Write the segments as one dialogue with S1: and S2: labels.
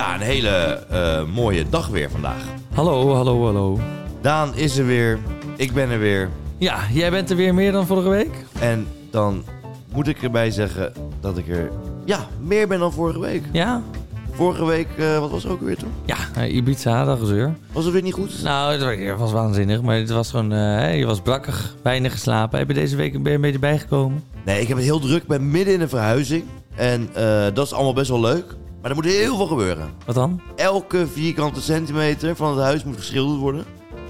S1: hele eh, mooie dag weer vandaag.
S2: Hallo, hallo, hallo.
S1: Daan is er weer. Ik ben er weer.
S2: Ja, jij bent er weer meer dan vorige week?
S1: En dan moet ik erbij zeggen dat ik er ja, meer ben dan vorige week.
S2: Ja?
S1: Vorige week, eh, wat was er ook weer toen?
S2: Ja, eh, Ibiza, dat gezeur.
S1: Was het weer niet goed?
S2: Nou, het wa- het was waanzinnig, maar het was gewoon... eh, hè, je was brakkig, weinig geslapen. Heb je deze week ben je een beetje bijgekomen?
S1: Nee, ik heb het heel druk. Ik ben midden in een verhuizing. En eh, dat is allemaal best wel leuk. Maar er moet heel veel gebeuren.
S2: Wat dan?
S1: Elke vierkante centimeter van het huis moet geschilderd worden.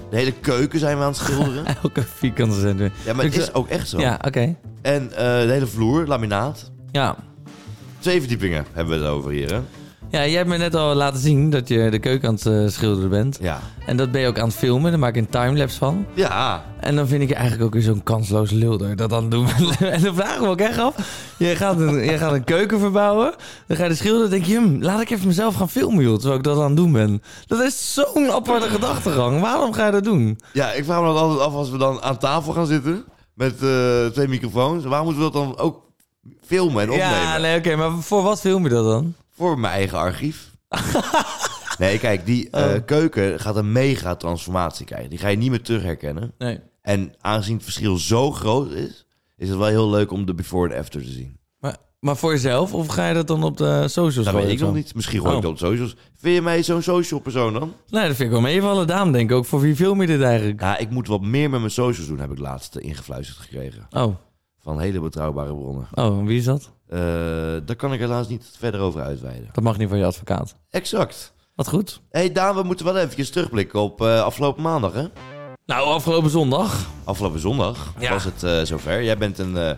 S1: De hele keuken zijn we aan het schilderen.
S2: Elke vierkante centimeter.
S1: Ja, maar het
S2: Ik-
S1: is ook echt zo.
S2: Ja, oké.
S1: En eh, de hele vloer, laminaat.
S2: Ja.
S1: Twee verdiepingen hebben we het over hier, hè?
S2: ja, jij hebt me net al laten zien dat je de keuken aan het eh, schilderen bent.
S1: Ja.
S2: En dat ben je ook aan het filmen, daar maak ik een timelapse van.
S1: Ja.
S2: En dan vind ik je eigenlijk ook weer zo'n kansloos lulder. Dat dan doen we. En dan vragen we ook echt af. Je gaat een, je gaat een keuken verbouwen. Dan ga je de schilderen. Dan denk je, "Hm, laat ik even mezelf gaan filmen, joh. Terwijl ik dat aan het doen ben. Dat is zo'n aparte gedachtegang. Waarom ga je dat doen?
S1: Ja, ik vraag me dat altijd af als we dan aan tafel gaan zitten met eh, twee microfoons. Waarom moeten we dat dan ook filmen en opnemen?
S2: Ja, nee, oké. maar voor wat film je dat dan?
S1: Voor mijn eigen archief. nee, kijk, die eh,
S2: Oh.
S1: keuken gaat een mega transformatie krijgen. Die ga je niet meer terugherkennen.
S2: Nee.
S1: En aangezien het verschil zo groot is, is het wel heel leuk om de before en after te zien.
S2: Maar, maar voor jezelf? Of ga je dat dan op de socials
S1: Dat
S2: gooien
S1: weet ik
S2: of zo?
S1: nog niet. Misschien gooi ik
S2: Oh.
S1: dat op socials. Vind je mij zo'n social persoon dan?
S2: Nee, dat vind ik wel meevallen. Daarom denk ik ook, voor wie film je dit eigenlijk?
S1: Ja, ik moet wat meer met mijn socials doen, heb ik laatst eh, ingefluisterd gekregen.
S2: Oh,
S1: Van hele betrouwbare bronnen.
S2: oh, en wie is dat?
S1: Eh, daar kan ik helaas niet verder over uitweiden.
S2: Dat mag niet van je advocaat.
S1: Exact.
S2: Wat goed.
S1: hey Daan, we moeten wel eventjes terugblikken op eh, afgelopen maandag, hè?
S2: Nou, afgelopen zondag.
S1: Afgelopen zondag
S2: Ja.
S1: was het eh, zover. Jij bent een eh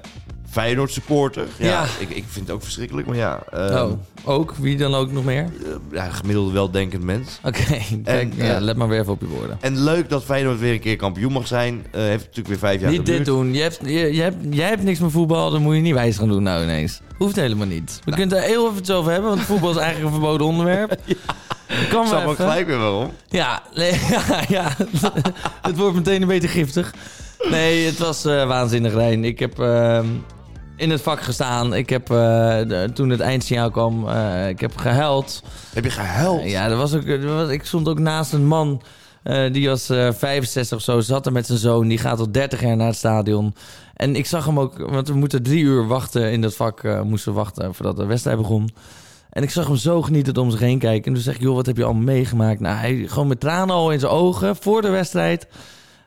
S1: Feyenoord supporter. Ja,
S2: Ja.
S1: Ik, ik vind het ook verschrikkelijk, maar ja. ehm,
S2: Oh, ook? Wie dan ook nog meer?
S1: eh, ja, gemiddeld weldenkend mens.
S2: Oké, kijk,
S1: En,
S2: ja,
S1: eh,
S2: let maar weer even op je woorden.
S1: En leuk dat Feyenoord weer een keer kampioen mag zijn. Eh, heeft natuurlijk weer vijf jaar
S2: niet dit
S1: geduurd.
S2: doen. Je hebt, je, je hebt, jij hebt niks met voetbal, dan moet je niet wijs gaan doen nou ineens. Hoeft helemaal niet.
S1: Nou.
S2: We kunnen het er heel even het over hebben, want voetbal is eigenlijk een verboden onderwerp. Kan
S1: Ik
S2: wel
S1: snap ook
S2: even.
S1: gelijk weer waarom.
S2: Ja, nee, ja, ja. het wordt meteen een beetje giftig. Nee, het was eh, waanzinnig, Rijn. Ik heb ehm, in het vak gestaan. Ik heb, eh, de- toen het eindsignaal kwam, eh, ik heb gehuild.
S1: Heb je gehuild?
S2: Ja, er was ook, er was- ik stond ook naast een man. eh, die was eh 65 of zo, zat er met zijn zoon. Die gaat al 30 jaar naar het stadion. En ik zag hem ook, want we moeten drie uur wachten in dat vak. eh, moesten we wachten voordat de wedstrijd begon. En ik zag hem zo genietend om zich heen kijken. En toen zeg ik, joh, wat heb je allemaal meegemaakt? Nou, hij gewoon met tranen al in zijn ogen voor de wedstrijd.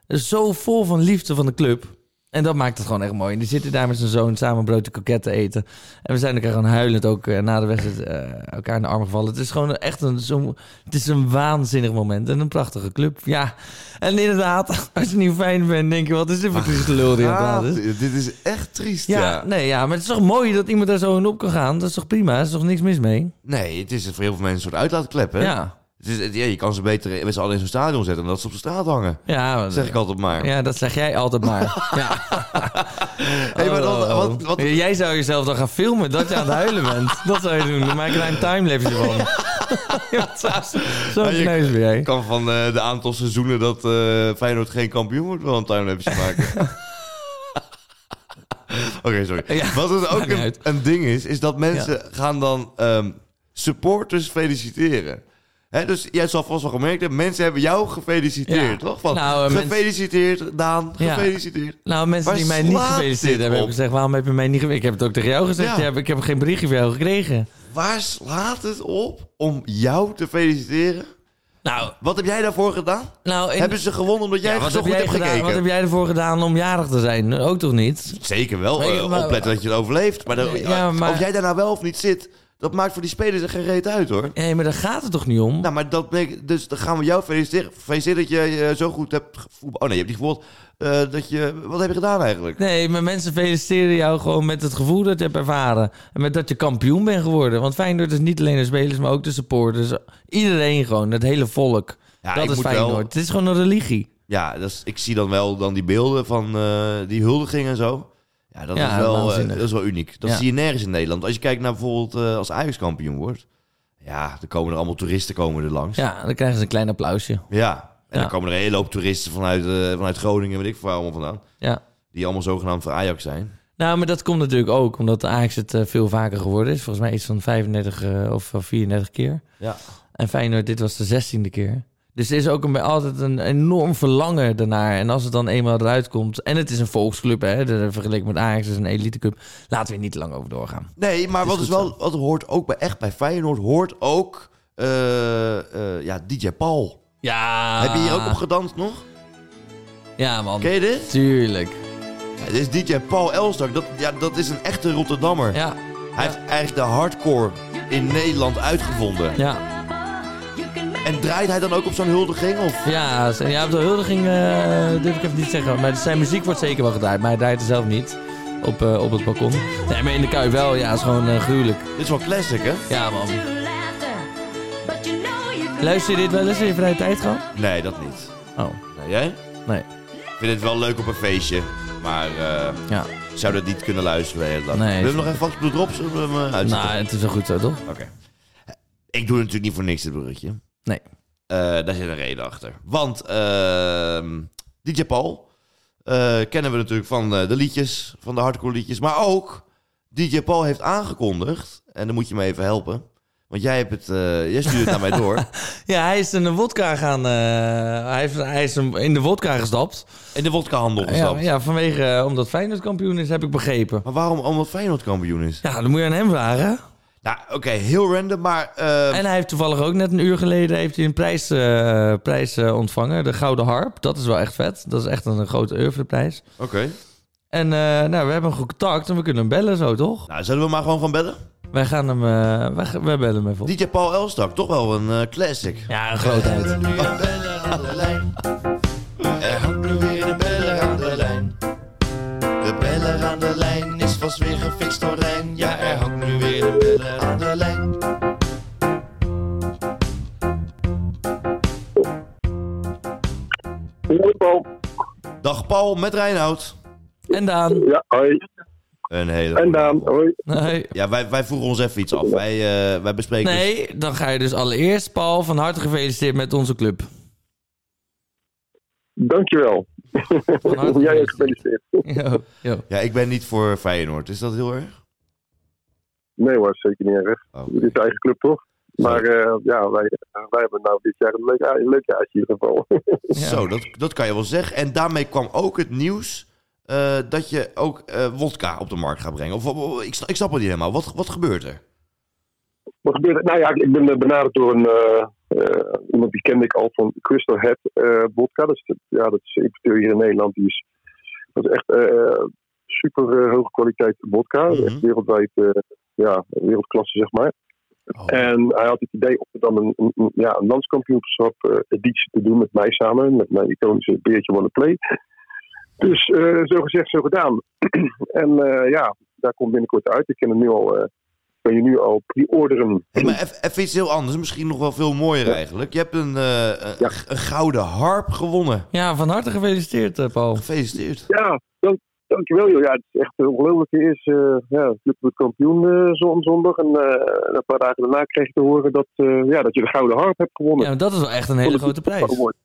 S2: Zo vol van liefde van de club. En dat maakt het gewoon echt mooi. En die zitten daar met zijn zoon samen broodje kroket te eten. En we zijn elkaar gewoon huilend ook eh, na de wedstrijd eh, elkaar in de armen gevallen. Het is gewoon echt een, zo, het is een waanzinnig moment. En een prachtige club. Ja, en inderdaad, als je niet fijn bent, denk je, wat is dit voor trieste lul die aan het
S1: Ah,
S2: praten
S1: dit
S2: is?
S1: dit is echt triest,
S2: Ja,
S1: ja.
S2: nee, ja, maar het is toch mooi dat iemand daar zo in op kan gaan. Dat is toch prima? Er is toch niks mis mee?
S1: Nee, het is voor heel veel mensen een soort uitlaatklep, hè?
S2: Ja.
S1: Het is, het- ja, je kan ze beter met z'n allen in zo'n stadion zetten dan dat ze op de straat hangen.
S2: Ja,
S1: Dat zeg ik altijd maar.
S2: ja, dat zeg jij altijd maar. ja. Oh.
S1: Hey, maar dan- wat- wat-
S2: Jij zou jezelf dan gaan filmen dat je aan het huilen bent. Dat zou je doen. Dan maak je daar een timelapse van. Ja, zo- Zo'n
S1: Ja, Nou, je-
S2: kneus ben jij.
S1: Ik kan van eh, de aantal seizoenen dat eh, Feyenoord geen kampioen wordt wel een timelapse maken. Oké, sorry.
S2: Ja,
S1: Wat het ook
S2: maakt niet
S1: een,
S2: uit.
S1: een ding is, is dat mensen gaan dan ehm, supporters feliciteren. Hè, dus jij zal vast wel gemerkt hebben, mensen hebben jou gefeliciteerd,
S2: Ja.
S1: toch? Van,
S2: Nou, eh, mensen-
S1: gefeliciteerd, Daan,
S2: Ja.
S1: gefeliciteerd.
S2: Nou, mensen
S1: Waar
S2: die mij niet
S1: slaat
S2: gefeliciteerd
S1: dit
S2: hebben, heb
S1: op?
S2: ik gezegd: waarom heb je mij niet gefeliciteerd? Ik heb het ook tegen jou gezegd.
S1: Ja.
S2: je hebt- ik heb geen berichtje van jou gekregen.
S1: Waar slaat het op om jou te feliciteren?
S2: Nou,
S1: Wat heb jij daarvoor gedaan?
S2: nou in-
S1: Hebben ze gewonnen omdat jij
S2: Ja,
S1: zo goed
S2: jij
S1: hebt
S2: gedaan-
S1: gekeken?
S2: Wat heb jij ervoor gedaan om jarig te zijn? Ook toch niet?
S1: Zeker wel.
S2: Maar-
S1: eh,
S2: maar-
S1: opletten dat je het overleeft. Maar, dan-
S2: Ja, maar-
S1: of jij daarna wel of niet zit, dat maakt voor die spelers er geen reet uit hoor.
S2: Nee, maar daar gaat het toch niet om?
S1: Nou, maar dat bleek, dus dan gaan we jou feliciteren. Feliciteer dat je eh, zo goed hebt gevoetbald. Oh nee, je hebt niet gevoeld. eh, dat je, wat heb je gedaan eigenlijk?
S2: Nee, maar mensen feliciteren jou gewoon met het gevoel dat je hebt ervaren. En met dat je kampioen bent geworden. Want Feyenoord is niet alleen de spelers, maar ook de supporters. Iedereen gewoon, het hele volk.
S1: Ja, ik
S2: dat is
S1: moet wel-
S2: Feyenoord. Het is gewoon een religie.
S1: Ja, dat is, ik zie dan wel dan die beelden van eh, die huldiging en zo. Ja, dat,
S2: Ja,
S1: is wel, eh,
S2: waanzinnig.
S1: dat is wel uniek. Dat
S2: Ja.
S1: zie je nergens in Nederland. Als je kijkt naar bijvoorbeeld eh, als Ajax kampioen wordt. Ja, dan komen er allemaal toeristen komen er langs.
S2: Ja, dan krijgen ze een klein applausje.
S1: Ja. En
S2: Ja.
S1: dan komen er een hele hoop toeristen vanuit, eh, vanuit Groningen, weet ik veel waar allemaal vandaan.
S2: Ja.
S1: Die allemaal zogenaamd voor Ajax zijn.
S2: Nou, maar dat komt natuurlijk ook omdat de Ajax het eh, veel vaker geworden is. Volgens mij iets van 35 eh, of 34 keer.
S1: Ja.
S2: En Feyenoord, dit was de zestiende keer. Dus er is ook een, altijd een enorm verlangen daarnaar. En als het dan eenmaal eruit komt... En het is een volksclub, hè. de- Vergeleken met Ajax, het is een eliteclub. Laten we er niet te lang over doorgaan.
S1: Nee, maar
S2: is
S1: wat,
S2: goed
S1: is wel, wat hoort ook bij, echt bij Feyenoord, hoort ook eh, eh, ja, DJ Paul.
S2: Ja.
S1: Heb je hier ook op gedanst nog?
S2: Ja, man.
S1: Ken je dit?
S2: Tuurlijk.
S1: Ja, dit is DJ Paul Elstak. Dat, ja, dat is een echte Rotterdammer.
S2: Ja.
S1: Hij heeft eigenlijk de hardcore in Nederland uitgevonden.
S2: Ja.
S1: En draait hij dan ook op zo'n huldiging? Of?
S2: Ja, ze- ja op de huldiging eh, durf ik even niet zeggen. Maar zijn muziek wordt zeker wel gedraaid. Maar hij draait er zelf niet. Op, eh, op het balkon. Nee, maar in de kuip wel. Ja, is gewoon eh, gruwelijk.
S1: Dit is wel classic, hè?
S2: Ja, man. Luister je dit wel eens in je vrije tijd gewoon?
S1: Nee, dat niet.
S2: Oh,
S1: Nou, jij?
S2: nee.
S1: Ik vind het wel leuk op een feestje. Maar eh,
S2: Ja.
S1: ik zou dat niet kunnen luisteren de hele dag.
S2: Nee,
S1: Wil je hem
S2: snap
S1: nog even vast op de drop? Zullen we hem eh, uitzetten?
S2: Nou, het is wel goed zo, toch?
S1: Oké. Ik doe natuurlijk niet voor niks dit bruggetje.
S2: Nee.
S1: Eh, daar zit een reden achter. Want ehm DJ Paul eh, kennen we natuurlijk van eh, de liedjes, van de hardcore liedjes. Maar ook DJ Paul heeft aangekondigd, en dan moet je me even helpen. Want jij, hebt het, eh, jij stuurt het naar mij door.
S2: Ja, hij is in de wodka gaan... eh, hij, heeft, hij is een- in de wodka gestapt.
S1: In de wodkahandel gestapt.
S2: Ja, ja, vanwege... eh, omdat Feyenoord kampioen is, heb ik begrepen.
S1: Maar waarom omdat Feyenoord kampioen is?
S2: Ja, dan moet je aan hem vragen.
S1: Nou, oké, heel random, maar... eh,
S2: En hij heeft toevallig ook net een uur geleden heeft hij een prijs, eh, prijs eh, ontvangen. De Gouden Harp. Dat is wel echt vet. Dat is echt een, grote oeuvreprijs.
S1: Oké.
S2: En eh, nou, we hebben hem contact en we kunnen hem bellen zo, toch?
S1: Nou, zullen we maar gewoon gaan bellen?
S2: Wij gaan hem... eh, wij, gaan- wij bellen hem even op.
S1: DJ Paul Elstak, toch wel een eh, classic.
S2: Ja, een grootheid.
S3: nu een beller aan de lijn. Er hangt nu weer een beller aan de lijn. De beller aan de lijn is vast weer gefixt door Rijn. Ja, er hangt nu weer een beller aan de lijn.
S4: Hoi Paul.
S1: Dag Paul, met Reinoud.
S2: En Daan.
S4: Ja, hoi.
S1: Een hele
S4: En Daan, hoi.
S2: Hoi.
S1: Ja, wij, wij vroegen ons even iets af. Wij, eh, wij bespreken...
S2: Nee, dan ga je dus allereerst, Paul, van harte gefeliciteerd met onze club.
S4: Dankjewel.
S2: Van harte
S4: Jij ook gefeliciteerd.
S2: Yo, yo.
S1: Ja, ik ben niet voor Feyenoord. Is dat heel erg?
S4: Nee hoor, zeker niet erg.
S1: Oh.
S4: Dit is de eigen club toch? Maar eh, ja, wij, wij hebben nou dit jaar een leuk, ja- een leuk jaartje in ieder geval.
S1: Zo, dat, dat kan je wel zeggen. En daarmee kwam ook het nieuws eh, dat je ook eh wodka op de markt gaat brengen. Of, of- ik, snap- ik snap het niet helemaal. Wat, wat gebeurt er?
S4: Wat gebeurt er? Nou ja, ik ben eh, benaderd door een, eh, eh, iemand die kende ik al van Crystal Head eh Vodka. Dat is, de- ja, dat is de importeur hier in Nederland. Die is, dat is echt eh, super eh, hoge kwaliteit vodka.
S1: Mhm.
S4: Echt wereldwijd, eh, ja, wereldklasse zeg maar.
S1: Oh.
S4: En hij had het idee om er dan een, een- een- ja, een landskampioenschap eh, editie te doen met mij samen. Met mijn iconische Beertje Wanna Play. Dus eh, zo gezegd, zo gedaan. en eh, ja, daar komt binnenkort uit. Ik ken hem nu al... eh, kan je nu al pre-orderen.
S1: Hey, maar eff- even iets heel anders. Misschien nog wel veel mooier eigenlijk. Je hebt een, eh, een,
S4: Ja.
S1: een gouden harp gewonnen.
S2: Ja, van harte gefeliciteerd, eh, Paul.
S1: Gefeliciteerd.
S4: Ja, dank, dankjewel joh. Ja, het is echt eh, ongelooflijk. Het Is, eh ja, de club wordt kampioen eh, zon- zondag. En eh, een paar dagen daarna kreeg ik te horen dat, eh, ja, dat je de Gouden Harp hebt gewonnen.
S2: Ja, maar dat is wel echt een hele grote prijs.
S4: Award.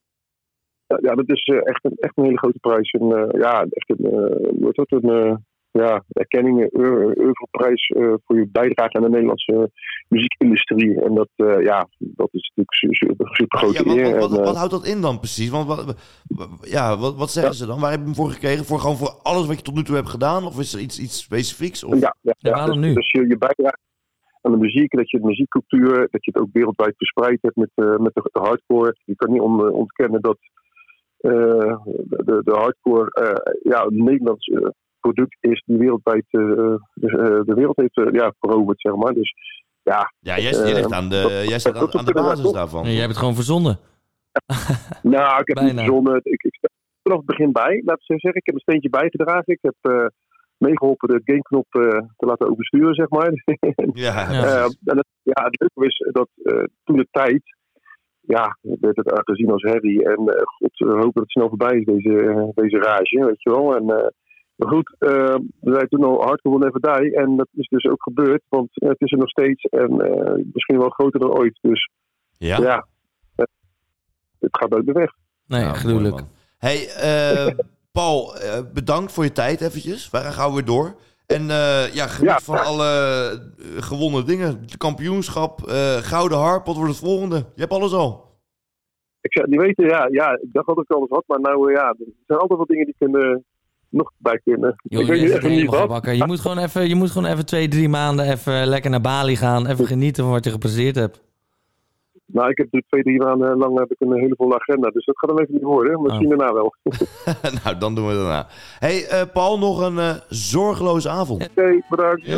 S4: Ja, ja, dat is eh, echt, een, echt een hele grote prijs. En, eh, ja, echt een, eh, hoe heet dat, een eh, ja, erkenning, eh, eu- europrijs eh, voor je bijdrage aan de Nederlandse eh, muziekindustrie. En dat, eh, ja, dat is natuurlijk su- su- super, grote
S1: Ja, wat, wat,
S4: eer.
S1: wat,
S4: En, eh,
S1: wat houdt dat in dan precies? Want wat, wat- ja, wat, wat zeggen ze dan? Waar heb je hem voor gekregen? Voor gewoon voor alles wat je tot nu toe hebt gedaan? Of is er iets, iets specifieks? Of...
S4: Ja, ja,
S2: Ja,
S4: ja.
S2: waarom
S4: dus,
S2: nu?
S4: Dus je, je bijdraagt aan de muziek, dat je de muziekcultuur, dat je het ook wereldwijd verspreid hebt met, eh, met de, de hardcore. Je kan niet on- ontkennen dat eh, de, de hardcore eh, ja, een Nederlands eh, product is die wereldwijd eh, eh, de wereld heeft eh, ja, veroverd, zeg maar. Dus ja,
S1: Ja, jij, jij
S4: Eh,
S1: ligt aan de, jij staat aan, aan de basis daarvan.
S2: Ja, Jij hebt het gewoon verzonnen.
S4: Nou, ik heb
S2: Bijna.
S4: niet verzonnen. Ik, ik sta er vanaf het begin bij, laat ik zo zeggen. Ik heb een steentje bijgedragen. Ik heb eh, meegeholpen de gameknop eh, te laten oversturen, zeg maar.
S1: Ja,
S2: Ja.
S4: Eh,
S1: precies.
S4: en het, ja, het leuke is dat eh, toen de tijd, ja, werd het aangezien als herrie. En eh, god, we hopen dat het snel voorbij is, deze, eh, deze rage, weet je wel. En, eh, maar goed, eh we zijn toen al hardcore will never die. En dat is dus ook gebeurd, want eh, het is er nog steeds en eh, misschien wel groter dan ooit. Dus
S1: Ja?
S4: ja, eh, het gaat uit de weg.
S2: Nee,
S1: Nou,
S2: gruwelijk.
S1: mooi, man. hey, eh, Paul, eh, bedankt voor je tijd eventjes. Wij gaan gauw weer door. En eh, ja, geniet
S4: Ja,
S1: van alle eh, gewonnen dingen. Het kampioenschap, eh, Gouden Harp, wat wordt het volgende? Je hebt alles al.
S4: Ik zou het niet weten, ja, ja, ik dacht dat ik alles had, maar nou eh, ja, er zijn altijd wel dingen die kunnen, eh, nog bij kunnen.
S2: Joh,
S4: ik
S2: je
S4: weet niet
S2: zit
S4: echt niet
S2: helemaal
S4: wat.
S2: wakker. Je moet gewoon even, je moet gewoon even twee, drie maanden even lekker naar Bali gaan. Even genieten van wat je gepresteerd hebt.
S4: Nou, ik heb natuurlijk twee, drie maanden lang heb ik een hele volle agenda, dus dat gaat hem even niet worden. Misschien daarna wel. Oké,
S1: nou, dan doen we het daarna. hey, eh, Paul, nog een eh, zorgeloze avond.
S4: bedankt.
S5: Dit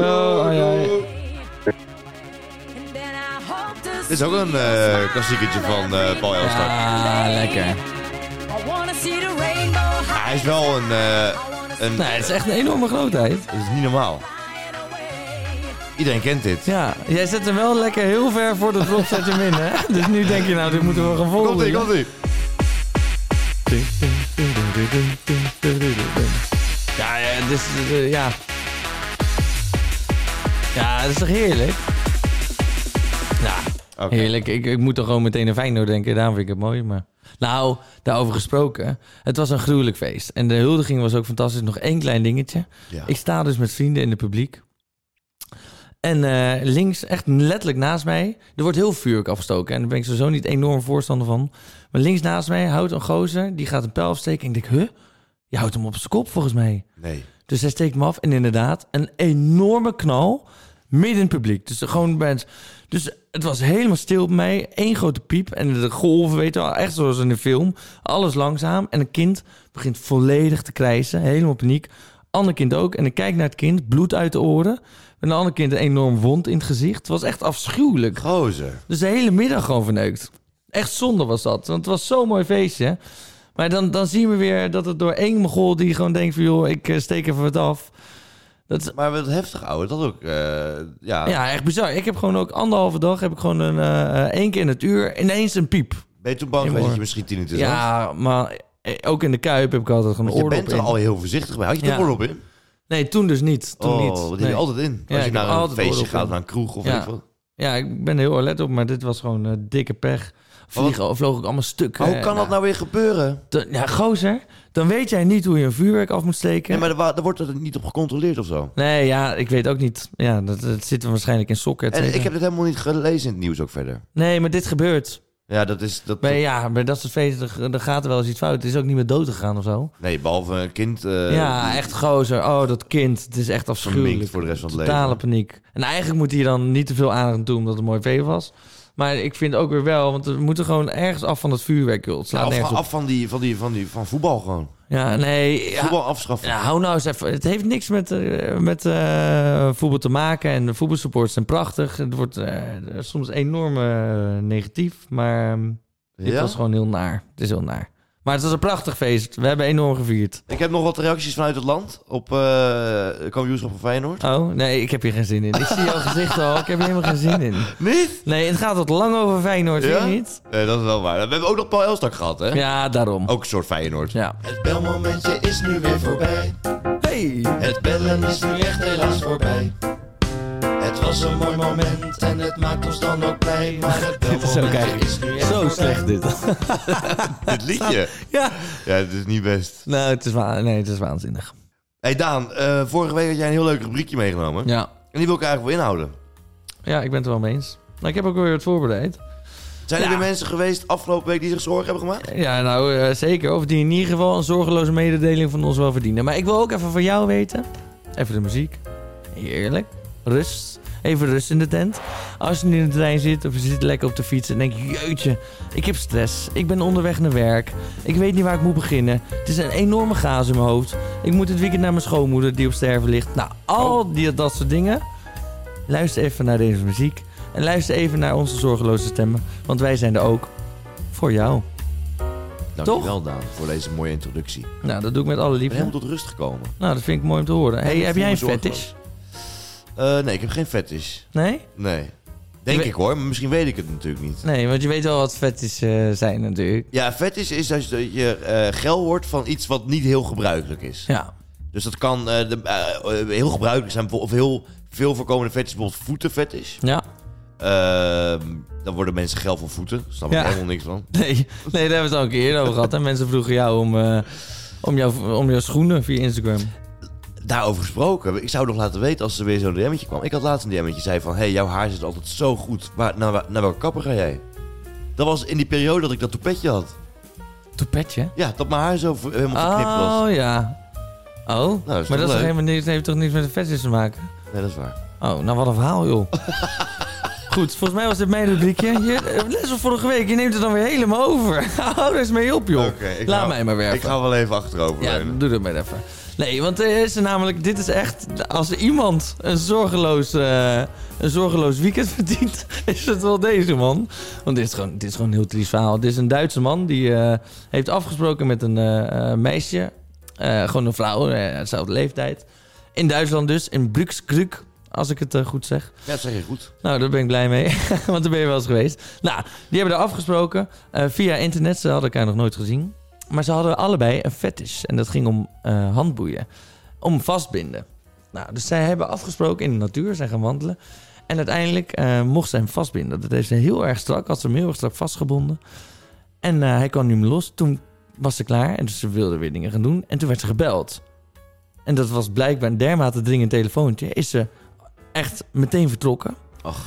S1: Dit is ook een eh, klassieketje van eh, Paul Elstak.
S2: Ah, lekker.
S1: Hij is wel een... eh, een
S2: Nee, het is echt een enorme grootheid.
S1: Het is niet normaal. Iedereen kent dit.
S2: Ja, jij zet hem wel lekker heel ver voor de drop zet je hem in, hè? Dus nu denk je, nou, dit moeten we gaan volgen.
S1: Komt-ie, komt-ie.
S2: Ja, ja, dit is, eh, ja. Ja, dat is toch heerlijk? Nou,
S1: Oké.
S2: heerlijk. Ik, ik moet toch gewoon meteen aan Feyenoord denken. Daarom vind ik het mooi, maar... Nou, daarover gesproken. Het was een gruwelijk feest. En de huldiging was ook fantastisch. Nog één klein dingetje.
S1: Ja.
S2: Ik sta dus met vrienden in het publiek. En eh, links, echt letterlijk naast mij, er wordt heel vuurwerk afgestoken. En daar ben ik sowieso niet enorm voorstander van. Maar links naast mij houdt een gozer, die gaat een pijl afsteken. En ik denk, huh? Je houdt hem op zijn kop volgens mij.
S1: Nee.
S2: Dus hij steekt me af en inderdaad, een enorme knal midden in het publiek. Dus gewoon bij het- Dus het was helemaal stil bij mij. Eén grote piep en de golven, weet je wel, echt zoals in de film. Alles langzaam en een kind begint volledig te krijsen, helemaal paniek. Ander kind ook. En ik kijk naar het kind, bloed uit de oren. Een ander kind een enorm wond in het gezicht. Het was echt afschuwelijk.
S1: Gozer.
S2: Dus de hele middag gewoon verneukt. Echt zonde was dat. Want het was zo'n mooi feestje. Maar dan, dan zien we weer dat het door één mogol die gewoon denkt van... joh, ik eh, steek even wat af. Dat is
S1: Maar wat heftig, ouwe. Dat ook. eh, ja.
S2: ja, echt bizar. Ik heb gewoon ook anderhalve dag... heb ik gewoon een, eh, eh, één keer in het uur ineens een piep.
S1: Ben je toen bang geweest
S2: hoor.
S1: dat je misschien tinnitus had?
S2: Ja, maar eh, ook in de Kuip heb ik altijd gewoon
S1: Want
S2: een
S1: je
S2: oordop
S1: bent er
S2: in.
S1: al heel voorzichtig mee. Had je de
S2: Ja.
S1: oordop in?
S2: Nee, toen dus niet. Toen
S1: oh,
S2: niet.
S1: dat heb
S2: Nee.
S1: je altijd in.
S2: Ja,
S1: Als je
S2: ik heb
S1: naar een
S2: altijd
S1: feestje
S2: oordop
S1: gaat,
S2: in.
S1: naar een kroeg of
S2: Ja.
S1: weet ik wat.
S2: Ja, ik ben er heel alert op, maar dit was gewoon eh, dikke pech. Vliegen, vloog ik allemaal stuk.
S1: Maar hoe kan dat nou weer gebeuren?
S2: Ja, gozer, dan weet jij niet hoe je een vuurwerk af moet steken.
S1: Nee, maar er, wa- daar wordt er niet op gecontroleerd of zo.
S2: Nee, ja, ik weet ook niet. Ja, dat, dat zit waarschijnlijk in sokken. et
S1: En
S2: cetera.
S1: ik heb dit helemaal niet gelezen in het nieuws ook verder.
S2: Nee, maar dit gebeurt.
S1: Ja, dat is... Dat,
S2: Bij, ja, bij dat soort feesten er gaat er wel eens iets fout. Het is ook niet meer dood gegaan of zo.
S1: Nee, behalve een kind... eh,
S2: ja,
S1: die-
S2: echt gozer. Oh, dat kind. Het is echt afschuwelijk.
S1: Verminkt voor de rest van het
S2: Totale
S1: leven.
S2: paniek. En eigenlijk moet hij dan niet te veel aandacht aan doen omdat het een mooi vee was. Maar ik vind ook weer wel, want we moeten gewoon ergens af van dat vuurwerk, joh. Het slaat
S1: Ja, af,
S2: nergens op.
S1: af van, die, van, die, van, die, van voetbal gewoon.
S2: Ja, nee. ja.
S1: Voetbal afschaffen.
S2: Ja, hou nou eens even. Het heeft niks met, eh, met eh, voetbal te maken. En de voetbalsupports zijn prachtig. Het wordt eh, soms enorm eh, negatief. Maar ehm, dit
S1: Ja?
S2: was gewoon heel naar. Het is heel naar. Maar het was een prachtig feest. We hebben enorm gevierd.
S1: Ik heb nog wat reacties vanuit het land op eh kampioenschap van Feyenoord.
S2: Oh, nee, ik heb hier geen zin in. Ik zie jouw gezicht al. Ik heb hier helemaal geen zin in.
S1: Niet?
S2: Nee, het gaat wat lang over Feyenoord, vind
S1: Ja?
S2: je Ah, niet?
S1: Nee, dat is wel waar. We hebben ook nog Paul Elstak gehad, hè?
S2: Ja, daarom.
S1: Ook een soort Feyenoord.
S2: Ja.
S3: Het belmomentje is nu weer voorbij.
S2: Hey!
S3: Het bellen is nu echt helaas voorbij. Het was een mooi moment en het maakt ons dan ook blij. Maar het
S2: Dit is ook
S3: belmomentje is nu
S2: eigenlijk
S3: echt
S2: zo
S3: voorbij.
S2: slecht, dit.
S1: Dit liedje.
S2: Ja.
S1: Ja, het is niet best.
S2: Nou, het is, wa- nee, het is waanzinnig.
S1: hey Daan, eh, vorige week had jij een heel leuk rubriekje meegenomen.
S2: Ja.
S1: En die wil ik eigenlijk wel inhouden.
S2: Ja, ik ben het er wel mee eens. Maar ik heb ook weer wat voorbereid.
S1: Zijn er
S2: Ja.
S1: weer mensen geweest afgelopen week die zich zorgen hebben gemaakt?
S2: Ja, nou eh, zeker. Of die in ieder geval een zorgeloze mededeling van ons wel verdienen. Maar ik wil ook even van jou weten. Even de muziek. Heerlijk. Rust. Even rust in de tent. Als je nu in de trein zit of je zit lekker op de fiets en denkt... Jeetje, ik heb stress. Ik ben onderweg naar werk. Ik weet niet waar ik moet beginnen. Het is een enorme chaos in mijn hoofd. Ik moet dit weekend naar mijn schoonmoeder die op sterven ligt. Nou, al die, dat soort dingen. Luister even naar deze muziek. En luister even naar onze zorgeloze stemmen. Want wij zijn er ook voor jou. Eh,
S1: Dankjewel Daan voor deze mooie introductie. Ik
S2: Nou, dat doe ik met alle
S1: ben
S2: liefde.
S1: helemaal tot rust gekomen.
S2: Nou, dat vind ik mooi om te horen. Hey,
S1: ik
S2: heb
S1: voel
S2: jij
S1: me
S2: een
S1: zorgeloos.
S2: fetish?
S1: Eh, nee, ik heb geen fetish.
S2: Nee?
S1: Nee. Denk
S2: weet-
S1: ik hoor, maar misschien weet ik het natuurlijk niet.
S2: Nee, want je weet wel wat fetish eh, zijn natuurlijk.
S1: Ja, fetish is als je- dat je eh, geil wordt van iets wat niet heel gebruikelijk is.
S2: Ja.
S1: Dus dat kan eh, de- eh, eh, heel gebruikelijk zijn. Of heel veel voorkomende fetish, bijvoorbeeld voetenfetish.
S2: Ja.
S1: Ehm, dan worden mensen geil van voeten. Daar snap ik
S2: Ja.
S1: helemaal niks van.
S2: Nee, nee daar hebben we het al een keer eerder over gehad. Hè? Mensen vroegen jou om, eh, om, jou, om jouw schoenen via Instagram.
S1: daarover gesproken. Ik zou nog laten weten als er weer zo'n DM'tje kwam. Ik had laatst een DM'tje zei van... hey, jouw haar zit altijd zo goed. Waar, naar, wa- naar welke kapper ga jij? Dat was in die periode dat ik dat toepetje had.
S2: Toepetje?
S1: Ja, dat mijn haar zo ver- helemaal verknipt was.
S2: Oh ja. Oh,
S1: dat Nou, is
S2: maar
S1: toch
S2: dat is
S1: leuk?
S2: helemaal niks, heeft toch niks met de vetjes te maken?
S1: Nee, dat is waar.
S2: Oh, nou wat een verhaal, joh. Goed, volgens mij was dit mijn rubriekje. Je, eh, les van vorige week, je neemt het dan weer helemaal over. Hou er eens mee op, joh.
S1: Oké, ik
S2: Laat
S1: hou-
S2: mij maar werken.
S1: Ik ga wel even achterover
S2: Ja,
S1: leunen.
S2: doe dat maar even. Nee, want er is namelijk, dit is echt, als er iemand een zorgeloos, eh, een zorgeloos weekend verdient, is het wel deze man. Want dit is gewoon, dit is gewoon een heel triest verhaal. Dit is een Duitse man die eh, heeft afgesproken met een eh, eh, meisje, Eh, gewoon een vrouw, eh, dezelfde leeftijd. In Duitsland dus, in Brükskruk, als ik het eh, goed zeg.
S1: Ja, dat zeg je goed.
S2: Nou, daar ben ik blij mee, want daar ben je wel eens geweest. Nou, die hebben daar afgesproken eh, via internet. Ze hadden elkaar nog nooit gezien. Maar ze hadden allebei een fetish. En dat ging om eh, handboeien. Om vastbinden. Nou, dus zij hebben afgesproken in de natuur. Zijn gaan wandelen. En uiteindelijk eh, mocht zij hem vastbinden. Dat heeft ze heel erg strak. Had ze hem heel erg strak vastgebonden. En eh, hij kwam niet meer los. Toen was ze klaar. En dus ze wilde weer dingen gaan doen. En toen werd ze gebeld. En dat was blijkbaar een dermate dringend telefoontje. Is ze echt meteen vertrokken.
S1: Ach,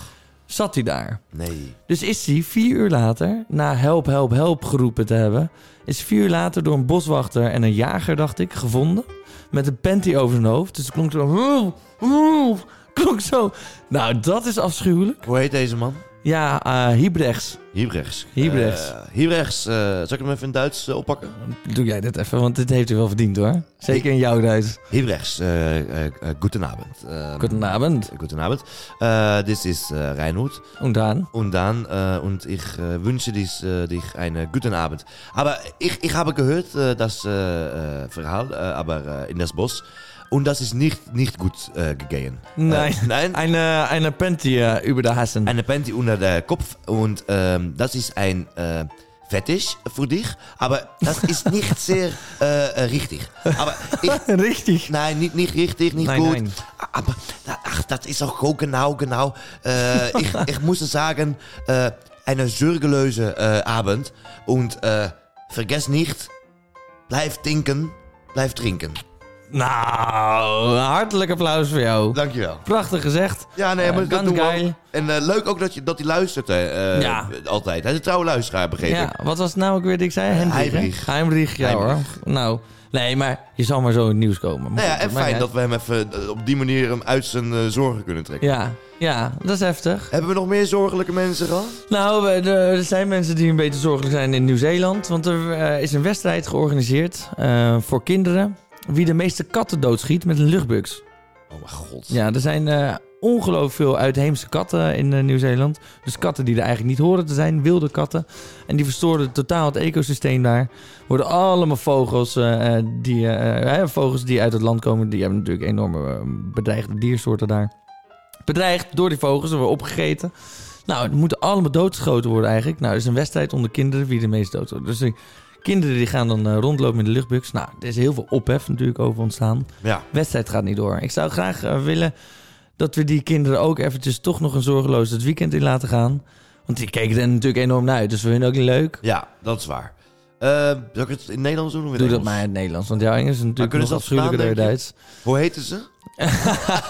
S2: Zat hij daar.
S1: nee.
S2: Dus is hij vier uur later, na help, help, help geroepen te hebben, is vier uur later door een boswachter en een jager, dacht ik, gevonden. Met een panty over zijn hoofd. Dus het klonk zo. "Hulp, hulp," Klonk zo. Nou, dat is afschuwelijk.
S1: Hoe heet deze man?
S2: Ja, eh Hiebrechts.
S1: Hiebrechts.
S2: Hiebrechts.
S1: Eh, Hiebrechts. eh, zal ik hem even in Duits eh, oppakken?
S2: Doe jij dit even, want dit heeft hij wel verdiend hoor. Zeker in jouw Duits.
S1: Hiebrechts. eh eh eh, Goedenavond. Eh,
S2: Goedenavond.
S1: Goedenavond. Eh, Dit is eh Reinhard.
S2: Und dann?
S1: Und dann, äh, und ich äh, wünsche dies, äh, dich einen guten Abend. Aber ich, ich habe gehört, äh, das äh, äh, Verhaal, äh, aber äh, in das Boss. Und das ist nicht, nicht gut äh, gegangen.
S2: Nein.
S1: Äh, nein.
S2: Eine, eine Panty eh, über der Hassen.
S1: Eine Panty unter der Kopf und ähm, das ist ein äh, Fetisch für dich, aber das ist nicht sehr äh, äh, richtig. Aber ich,
S2: Richtig.
S1: Nein, nicht, nicht richtig, nicht
S2: Nein,
S1: gut.
S2: nein.
S1: Aber ach, das ist auch so genau, genau. Äh, ich, ich muss sagen, äh, eine sorgelöse äh, Abend. Und äh, vergesst nicht, blijf denken, blijf drinken.
S2: Nou, een hartelijk applaus voor jou.
S1: Dankjewel.
S2: Prachtig gezegd.
S1: Ja, nee,
S2: Eh,
S1: maar dat
S2: ganz
S1: doen we
S2: geil.
S1: ook. En eh, leuk ook dat, je, dat hij luistert hè, eh,
S2: Ja.
S1: altijd. Hij is een trouwe luisteraar, begreep
S2: Ja,
S1: ik.
S2: wat was het nou ook weer dat ik zei? Hendrik, hè?
S1: Heimrich.
S2: Heimrich, ja
S1: Heimrich.
S2: hoor. Nou, nee, maar je zal maar zo in het nieuws komen. Maar
S1: Nou ja,
S2: goed,
S1: en
S2: maakt
S1: fijn
S2: niet
S1: dat we hem even eh, op die manier hem uit zijn eh, zorgen kunnen trekken.
S2: uit. Ja, ja, dat is heftig.
S1: Hebben we nog meer zorgelijke mensen gehad?
S2: Nou, we- de- er zijn mensen die een beetje zorgelijk zijn in Nieuw-Zeeland. Want er eh, is een wedstrijd georganiseerd eh, voor kinderen. Wie de meeste katten doodschiet met een luchtbuks.
S1: Oh mijn god.
S2: Ja, er zijn eh, ongelooflijk veel uitheemse katten in eh, Nieuw-Zeeland. Dus katten die er eigenlijk niet horen te zijn, wilde katten. En die verstoorden totaal het ecosysteem daar. Worden allemaal vogels, eh, eh, die, eh, hè, vogels die uit het land komen. Die hebben natuurlijk enorme eh, bedreigde diersoorten daar. Bedreigd door die vogels, ze worden opgegeten. Nou, het moeten allemaal doodgeschoten worden eigenlijk. Nou, er is een wedstrijd onder kinderen wie de meest dood wordt. Dus die kinderen die gaan dan eh, rondlopen met de luchtbuks. Nou, er is heel veel ophef natuurlijk over ontstaan
S1: Ja.
S2: wedstrijd gaat niet door. Ik zou graag eh, willen dat we die kinderen ook eventjes toch nog een zorgeloos het weekend in laten gaan. Want die keken er natuurlijk enorm naar uit, dus we vinden ook niet leuk.
S1: Ja, dat is waar. Eh zal ik het in Nederlands doen? Of in
S2: Doe dat
S1: Engels?
S2: maar in het Nederlands, want jouw Engels is natuurlijk
S1: kunnen
S2: nog
S1: ze dat
S2: afschuwelijker dan je
S1: verstaan,
S2: Duits.
S1: Hoe heten ze?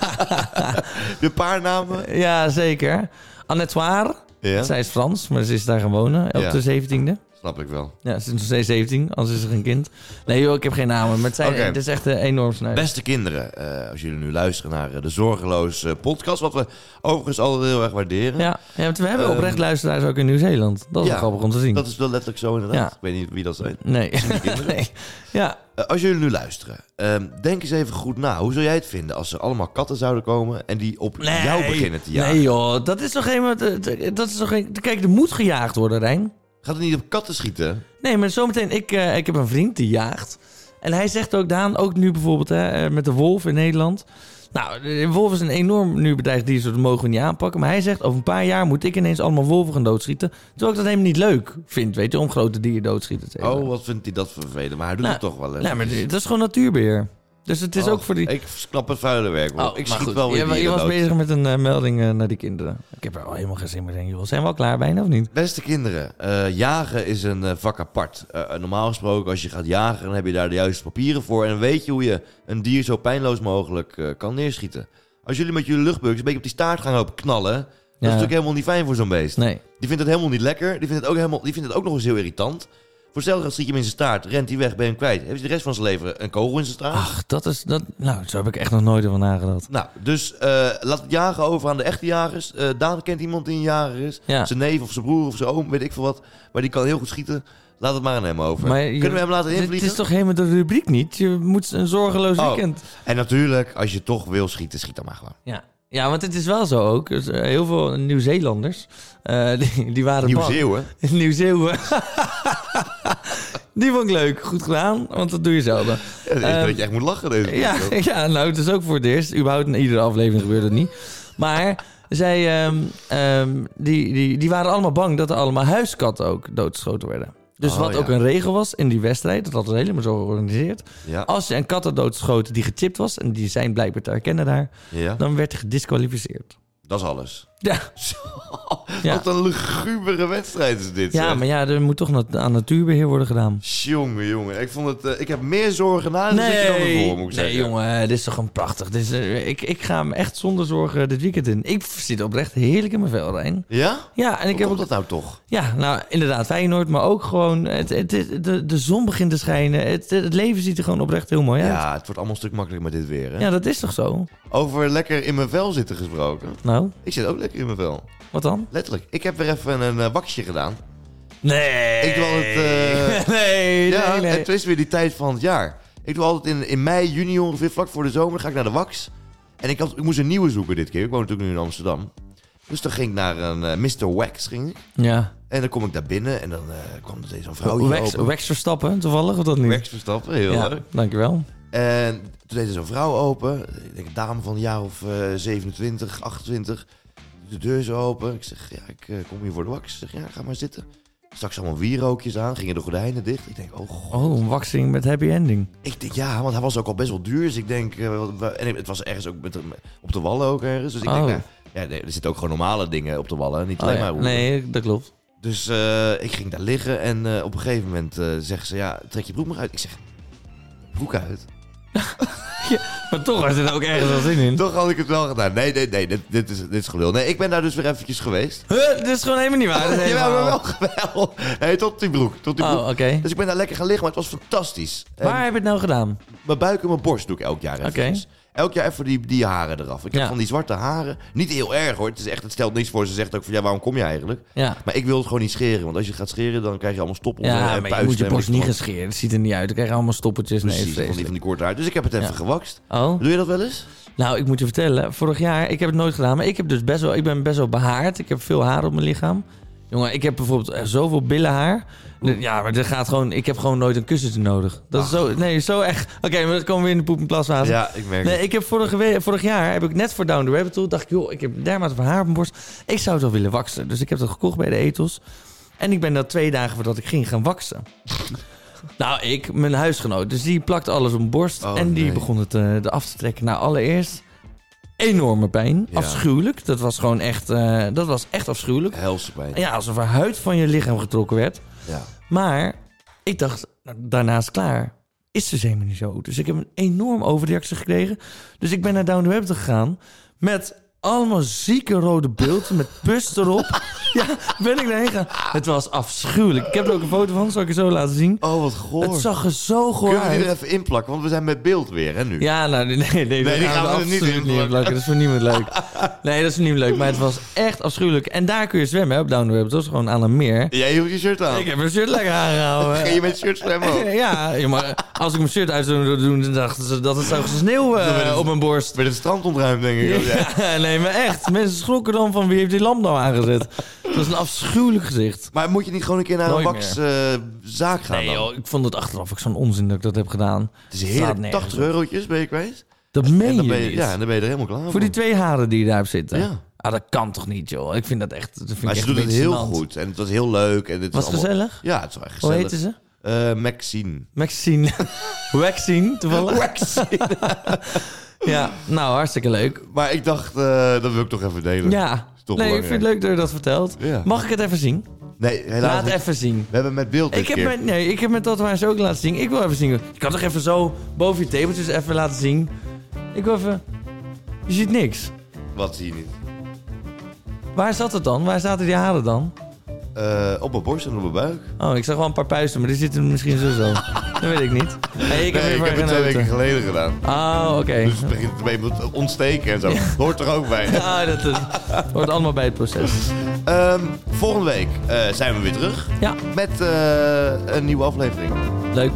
S1: De paarnamen?
S2: Ja, zeker. Annette Waar,
S1: Ja,
S2: zij is Frans, maar ze is daar gaan wonen, op
S1: Ja.
S2: de 17e.
S1: snap ik wel.
S2: Ja, ze is nog steeds 17, anders is ze geen kind. Nee joh, ik heb geen namen, maar het, zijn,
S1: Oké.
S2: het is echt eh, enorm snel.
S1: Beste kinderen, eh, als jullie nu luisteren naar eh, de Zorgeloos eh, podcast, wat we overigens altijd heel erg waarderen.
S2: Ja, ja want we hebben
S1: Ehm,
S2: oprecht luisteraars ook in Nieuw-Zeeland. Dat is
S1: ja,
S2: wel grappig om te zien.
S1: Dat is wel letterlijk zo inderdaad.
S2: Ja.
S1: Ik weet niet wie dat zijn.
S2: Nee.
S1: kinderen?
S2: nee. Ja,
S1: Eh, als jullie nu luisteren, ehm, denk eens even goed na. Hoe zou jij het vinden als er allemaal katten zouden komen en die op jou beginnen te jagen?
S2: Nee joh, dat is toch geen... eh, Dat is toch geen kijk, er moet gejaagd worden, Rijn.
S1: Gaat het niet op katten schieten?
S2: Nee, maar zometeen... Ik, eh, ik heb een vriend die jaagt. En hij zegt ook, Daan, ook nu bijvoorbeeld hè, eh, met de wolf in Nederland. Nou, de wolf is een enorm nu bedreigd diersoort, dat mogen we niet aanpakken. Maar hij zegt, over een paar jaar moet ik ineens allemaal wolven gaan doodschieten. Terwijl ik dat helemaal niet leuk vind, weet je, om grote dieren doodschieten te
S1: Oh, wat vindt hij Oh, dat vervelend? Maar hij doet
S2: Nou,
S1: het toch wel. hè?
S2: Nou, maar dit- dat is gewoon natuurbeheer. Dus het is
S1: Oh,
S2: ook voor die... Oh,
S1: Ik snap het vuile werk, hoor. Oh, ik
S2: maar
S1: schiet
S2: goed.
S1: wel weer
S2: je, wa- je
S1: dieren
S2: was
S1: dood.
S2: bezig met een eh, melding eh, naar die kinderen. Ik heb er al helemaal geen zin meer in. Joh. Zijn we al klaar bijna of niet?
S1: Beste kinderen, eh, jagen is een eh, vak apart. Eh, normaal gesproken, als je gaat jagen, dan heb je daar de juiste papieren voor. En dan weet je hoe je een dier zo pijnloos mogelijk eh, kan neerschieten. Als jullie met jullie luchtbugs een beetje op die staart gaan lopen knallen... dat is natuurlijk helemaal niet fijn voor zo'n beest.
S2: Nee.
S1: Die vindt het helemaal niet lekker. Die vindt het ook, helemaal, die vindt het ook nog eens heel irritant. Voor hetzelfde schiet je hem in zijn staart, rent hij weg, ben je hem kwijt. Heeft hij de rest van zijn leven een kogel in zijn staart?
S2: Ach, dat is... Dat, nou, zo heb ik echt nog nooit over nagedacht.
S1: Nou, dus eh, laat het jagen over aan de echte jagers. Eh Daan kent iemand die een jager is.
S2: Ja.
S1: Zijn neef of zijn broer of zijn oom, weet ik veel wat. Maar die kan heel goed schieten. Laat het maar aan hem over.
S2: Maar je-
S1: Kunnen we hem laten
S2: Dit
S1: invliegen?
S2: is toch helemaal de rubriek niet? Je moet een zorgeloos
S1: Oh.
S2: weekend...
S1: En natuurlijk, als je toch wil schieten, schiet dan maar gewoon.
S2: Ja. ja, want het is wel zo ook. Dus, eh, heel veel Nieuw-Zeelanders, eh, die, die waren bang.
S1: Nieuw-Zeeuwen.
S2: Nieuw-Zeeuwen. die vond ik leuk. Goed gedaan, want dat doe je zelden.
S1: Ja, dat is
S2: Ehm,
S1: dat je echt moet lachen deze
S2: Ja,
S1: podcast.
S2: ja, nou, het is ook voor het eerst. Überhaupt in iedere aflevering gebeurt het niet. Maar zij, ehm, ehm, die, die, die waren allemaal bang dat er allemaal huiskatten ook doodgeschoten werden. Dus
S1: Oh,
S2: wat
S1: ja.
S2: ook een regel was in die wedstrijd, dat hadden ze helemaal zo georganiseerd.
S1: Ja.
S2: Als je een kat had doodgeschoten die gechipt was, en die zijn blijkbaar te herkennen daar,
S1: Ja,
S2: dan werd hij gedisqualificeerd.
S1: dat is alles.
S2: Ja, Ja.
S1: Wat een lugubere wedstrijd is dit.
S2: ja
S1: zeg.
S2: maar ja, er moet toch nat- aan natuurbeheer worden gedaan.
S1: Jongen, jongen. Ik, vond het, eh, ik heb meer zorgen na dan ik dan ervoor, moet ik
S2: nee
S1: zeggen.
S2: jongen, eh, dit is toch een prachtig. Dit is, eh, ik, ik ga hem echt zonder zorgen dit weekend in. Ik zit oprecht heerlijk in mijn vel, Rijn.
S1: Ja?
S2: Ja, en
S1: Hoe
S2: ik heb
S1: komt
S2: ook,
S1: dat nou toch?
S2: ja, nou inderdaad, Feyenoord, maar ook gewoon, het, het, het- de, de zon begint te schijnen. Het, het leven ziet er gewoon oprecht heel mooi
S1: Ja,
S2: uit.
S1: het wordt allemaal een stuk makkelijker met dit weer. Hè?
S2: Ja, dat is toch zo?
S1: Over lekker in mijn vel zitten gesproken.
S2: Nou,
S1: Ik zit ook lekker in mijn vel.
S2: wat dan?
S1: Letterlijk. Ik heb weer even een eh, waxje gedaan.
S2: Nee.
S1: Ik wil het, eh,
S2: nee,
S1: ja,
S2: nee, nee.
S1: het is weer die tijd van het jaar. Ik doe altijd in, in mei, juni ongeveer, vlak voor de zomer, ga ik naar de wax. En ik, had, ik moest een nieuwe zoeken dit keer. Ik woon natuurlijk nu in Amsterdam. Dus dan ging ik naar een eh, Mr. Wax. Ging ik.
S2: Ja.
S1: En dan kom ik daar binnen en dan eh, kwam er zo'n vrouwtje
S2: Wax,
S1: open.
S2: Wax Verstappen, toevallig of dat niet?
S1: Wax verstappen, heel
S2: ja,
S1: leuk.
S2: dankjewel.
S1: En toen deed er zo'n vrouw open. Ik denk een dame van een jaar of eh 27, 28. Doet De deur zo open. Ik zeg, ja, ik eh, kom hier voor de wax. Ze zegt, ja, ga maar zitten. Straks allemaal wierookjes aan. Gingen de gordijnen dicht. Ik denk, oh god.
S2: Oh, een waxing met happy ending.
S1: Ik denk, ja, want hij was ook al best wel duur. Dus ik denk, eh, wat- wa- en het was ergens ook met, op de wallen ook ergens. Dus ik denk,
S2: Oh.
S1: nou, ja, nee, er zitten ook gewoon normale dingen op de wallen. Niet alleen
S2: Oh, ja.
S1: maar hoeren.
S2: Nee, dat klopt.
S1: Dus eh, ik ging daar liggen en eh, op een gegeven moment eh zeggen ze, ja, trek je broek maar uit. Ik zeg, broek uit?
S2: Maar toch had het ook ergens wel zin in.
S1: Toch had ik het wel gedaan. Nee, nee, nee, dit, dit, is, dit is gelul. Nee, ik ben daar dus weer eventjes geweest.
S2: Huh, dit is gewoon helemaal niet waar. Dit is
S1: Ja, maar
S2: helemaal-
S1: wel geweld. Nee, tot die broek. Tot die broek.
S2: Oh, oké.
S1: Dus ik ben daar lekker gaan liggen, maar het was fantastisch. En
S2: Waar heb je het nou gedaan?
S1: Mijn buik en mijn borst doe ik elk jaar even. Elk jaar even die, die haren eraf. Ik
S2: Ja.
S1: heb van die zwarte haren. Niet heel erg hoor. Het, is echt, het stelt niks voor. Ze zegt ook van ja, waarom kom je eigenlijk?
S2: Ja.
S1: Maar ik wil het gewoon niet scheren. Want als je het gaat scheren, dan krijg je allemaal stoppels en,
S2: Ja,
S1: en
S2: maar je
S1: puisten
S2: moet je
S1: en
S2: borst
S1: weet ik
S2: niet
S1: wat.
S2: gescheren. Het ziet er niet uit. Dan krijg je allemaal stoppeltjes. Nee,
S1: Precies, van die, van
S2: vreselijk.
S1: die korte haar. Dus ik heb het even
S2: Ja.
S1: gewakst.
S2: Oh,
S1: Doe je dat wel eens?
S2: nou, ik moet je vertellen. Vorig jaar, ik heb het nooit gedaan. Maar ik, heb dus best wel, ik ben best wel behaard. Ik heb veel haar op mijn lichaam. Jongen, ik heb bijvoorbeeld echt zoveel billenhaar. Ja, maar dit gaat gewoon, ik heb gewoon nooit een kussentje nodig. Dat is zo, nee, zo echt. Oké, maar dat komen we in de poep- en plasfase.
S1: Ah. Ja, ik merk
S2: Nee,
S1: het.
S2: ik heb vorige we- vorig jaar, heb ik net voor Down the Rabbit Hole, dacht ik, joh, ik heb dermate van haar op mijn borst. Ik zou het wel willen waksen. Dus ik heb dat gekocht bij de Ethos. En ik ben dat twee dagen voordat ik ging gaan waksen. nou, ik, mijn huisgenoot. Dus die plakt alles op mijn borst.
S1: Oh,
S2: en die
S1: nee.
S2: begon het eh, eraf te trekken. Nou, allereerst enorme pijn.
S1: Ja.
S2: Afschuwelijk. Dat was gewoon echt, eh, dat was echt afschuwelijk.
S1: Helse pijn.
S2: Ja, alsof er huid van je lichaam getrokken werd.
S1: Ja.
S2: Maar ik dacht, nou, daarna is het klaar. Is dus helemaal niet zo. Dus ik heb een enorm overreactie gekregen. Dus ik ben naar Down the Web gegaan met allemaal zieke rode beelden met pus erop. ja, ben ik daarheen gegaan. Het was afschuwelijk. Ik heb er ook een foto van, zal ik je zo laten zien.
S1: Oh, wat goor.
S2: Het zag er zo goor
S1: Kunnen we die
S2: uit.
S1: er even inplakken? Want we zijn met beeld weer, hè, nu?
S2: Ja, nou, nee, nee, nee,
S1: die
S2: dat
S1: gaan we er niet in
S2: absoluut niet
S1: plakken.
S2: plakken. Dat is voor niemand leuk. Nee, dat is voor niemand leuk, maar het was echt afschuwelijk. En daar kun je zwemmen, hè, op Down the Web. Dat is gewoon aan een meer.
S1: Jij hield je shirt aan.
S2: Ik heb mijn shirt lekker aangehouden.
S1: Ging je met shirt zwemmen ook?
S2: Ja, ja, maar als ik mijn shirt uit zou doen, dan dachten ze dat het zou sneeuw eh,
S1: Dan werd het-
S2: op mijn borst.
S1: Met het strand ontruimd, denk ik. Ja.
S2: Ja, nee, maar echt. Mensen schrokken dan van wie heeft die lamp nou aangezet. Dat is een afschuwelijk gezicht.
S1: Maar moet je niet gewoon een keer naar
S2: Nooit
S1: een waxzaak gaan
S2: Nee
S1: dan?
S2: joh, ik vond het achteraf ook zo'n onzin dat ik dat heb gedaan.
S1: Het is
S2: Slaat
S1: heerlijk.
S2: nergens
S1: 80
S2: op.
S1: eurotjes ben je kwijt.
S2: Dat meen
S1: dan
S2: je,
S1: ben je,
S2: niet.
S1: ja, en dan ben je er helemaal klaar
S2: Voor die twee haren die daarop zitten.
S1: Ja.
S2: Ah, dat kan toch niet joh. Ik vind dat echt, dat vind
S1: Maar
S2: ik
S1: ze
S2: echt
S1: doen
S2: een
S1: het
S2: beetje
S1: heel
S2: gênant.
S1: goed. En het was heel leuk. En dit is
S2: Was
S1: allemaal...
S2: gezellig?
S1: Ja, het was echt
S2: Hoe
S1: gezellig.
S2: heette ze?
S1: Eh, Eh, Maxine.
S2: Maxine. Waxine, toevallig. ja, nou, hartstikke leuk.
S1: Maar ik dacht, eh, dat wil ik toch even delen.
S2: Ja.
S1: toch
S2: nee, ik vind het
S1: belangrijk.
S2: leuk dat je dat vertelt.
S1: Ja.
S2: Mag ik het even zien?
S1: Nee, helaas
S2: Laat
S1: niet.
S2: even zien.
S1: We hebben met beeld dit
S2: Ik heb,
S1: keer.
S2: mijn, nee, ik heb mijn tatoeage ook laten zien. Ik wil even zien. Ik kan toch even zo boven je tepeltjes even laten zien. Ik wil even... Je ziet niks.
S1: Wat zie je niet?
S2: Waar zat het dan? Waar zaten die haren dan?
S1: Eh, op mijn borst en op mijn buik.
S2: Oh, ik zag wel een paar puisten, maar die zitten misschien zo zo. dat weet ik niet. Hey, ik heb
S1: nee,
S2: even
S1: ik heb het twee weken
S2: genoten.
S1: geleden gedaan.
S2: Oh, oké.
S1: Dus het begint een beetje te ontsteken en zo. Hoort er ook bij.
S2: Ah, dat is, hoort allemaal bij het proces.
S1: Ehm, volgende week eh, zijn we weer terug
S2: Ja,
S1: met eh, een nieuwe aflevering.
S2: leuk.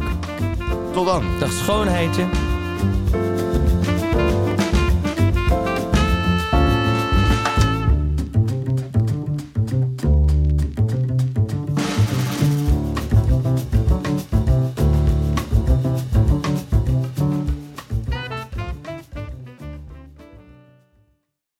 S1: Tot dan.
S2: Dag schoonheidje.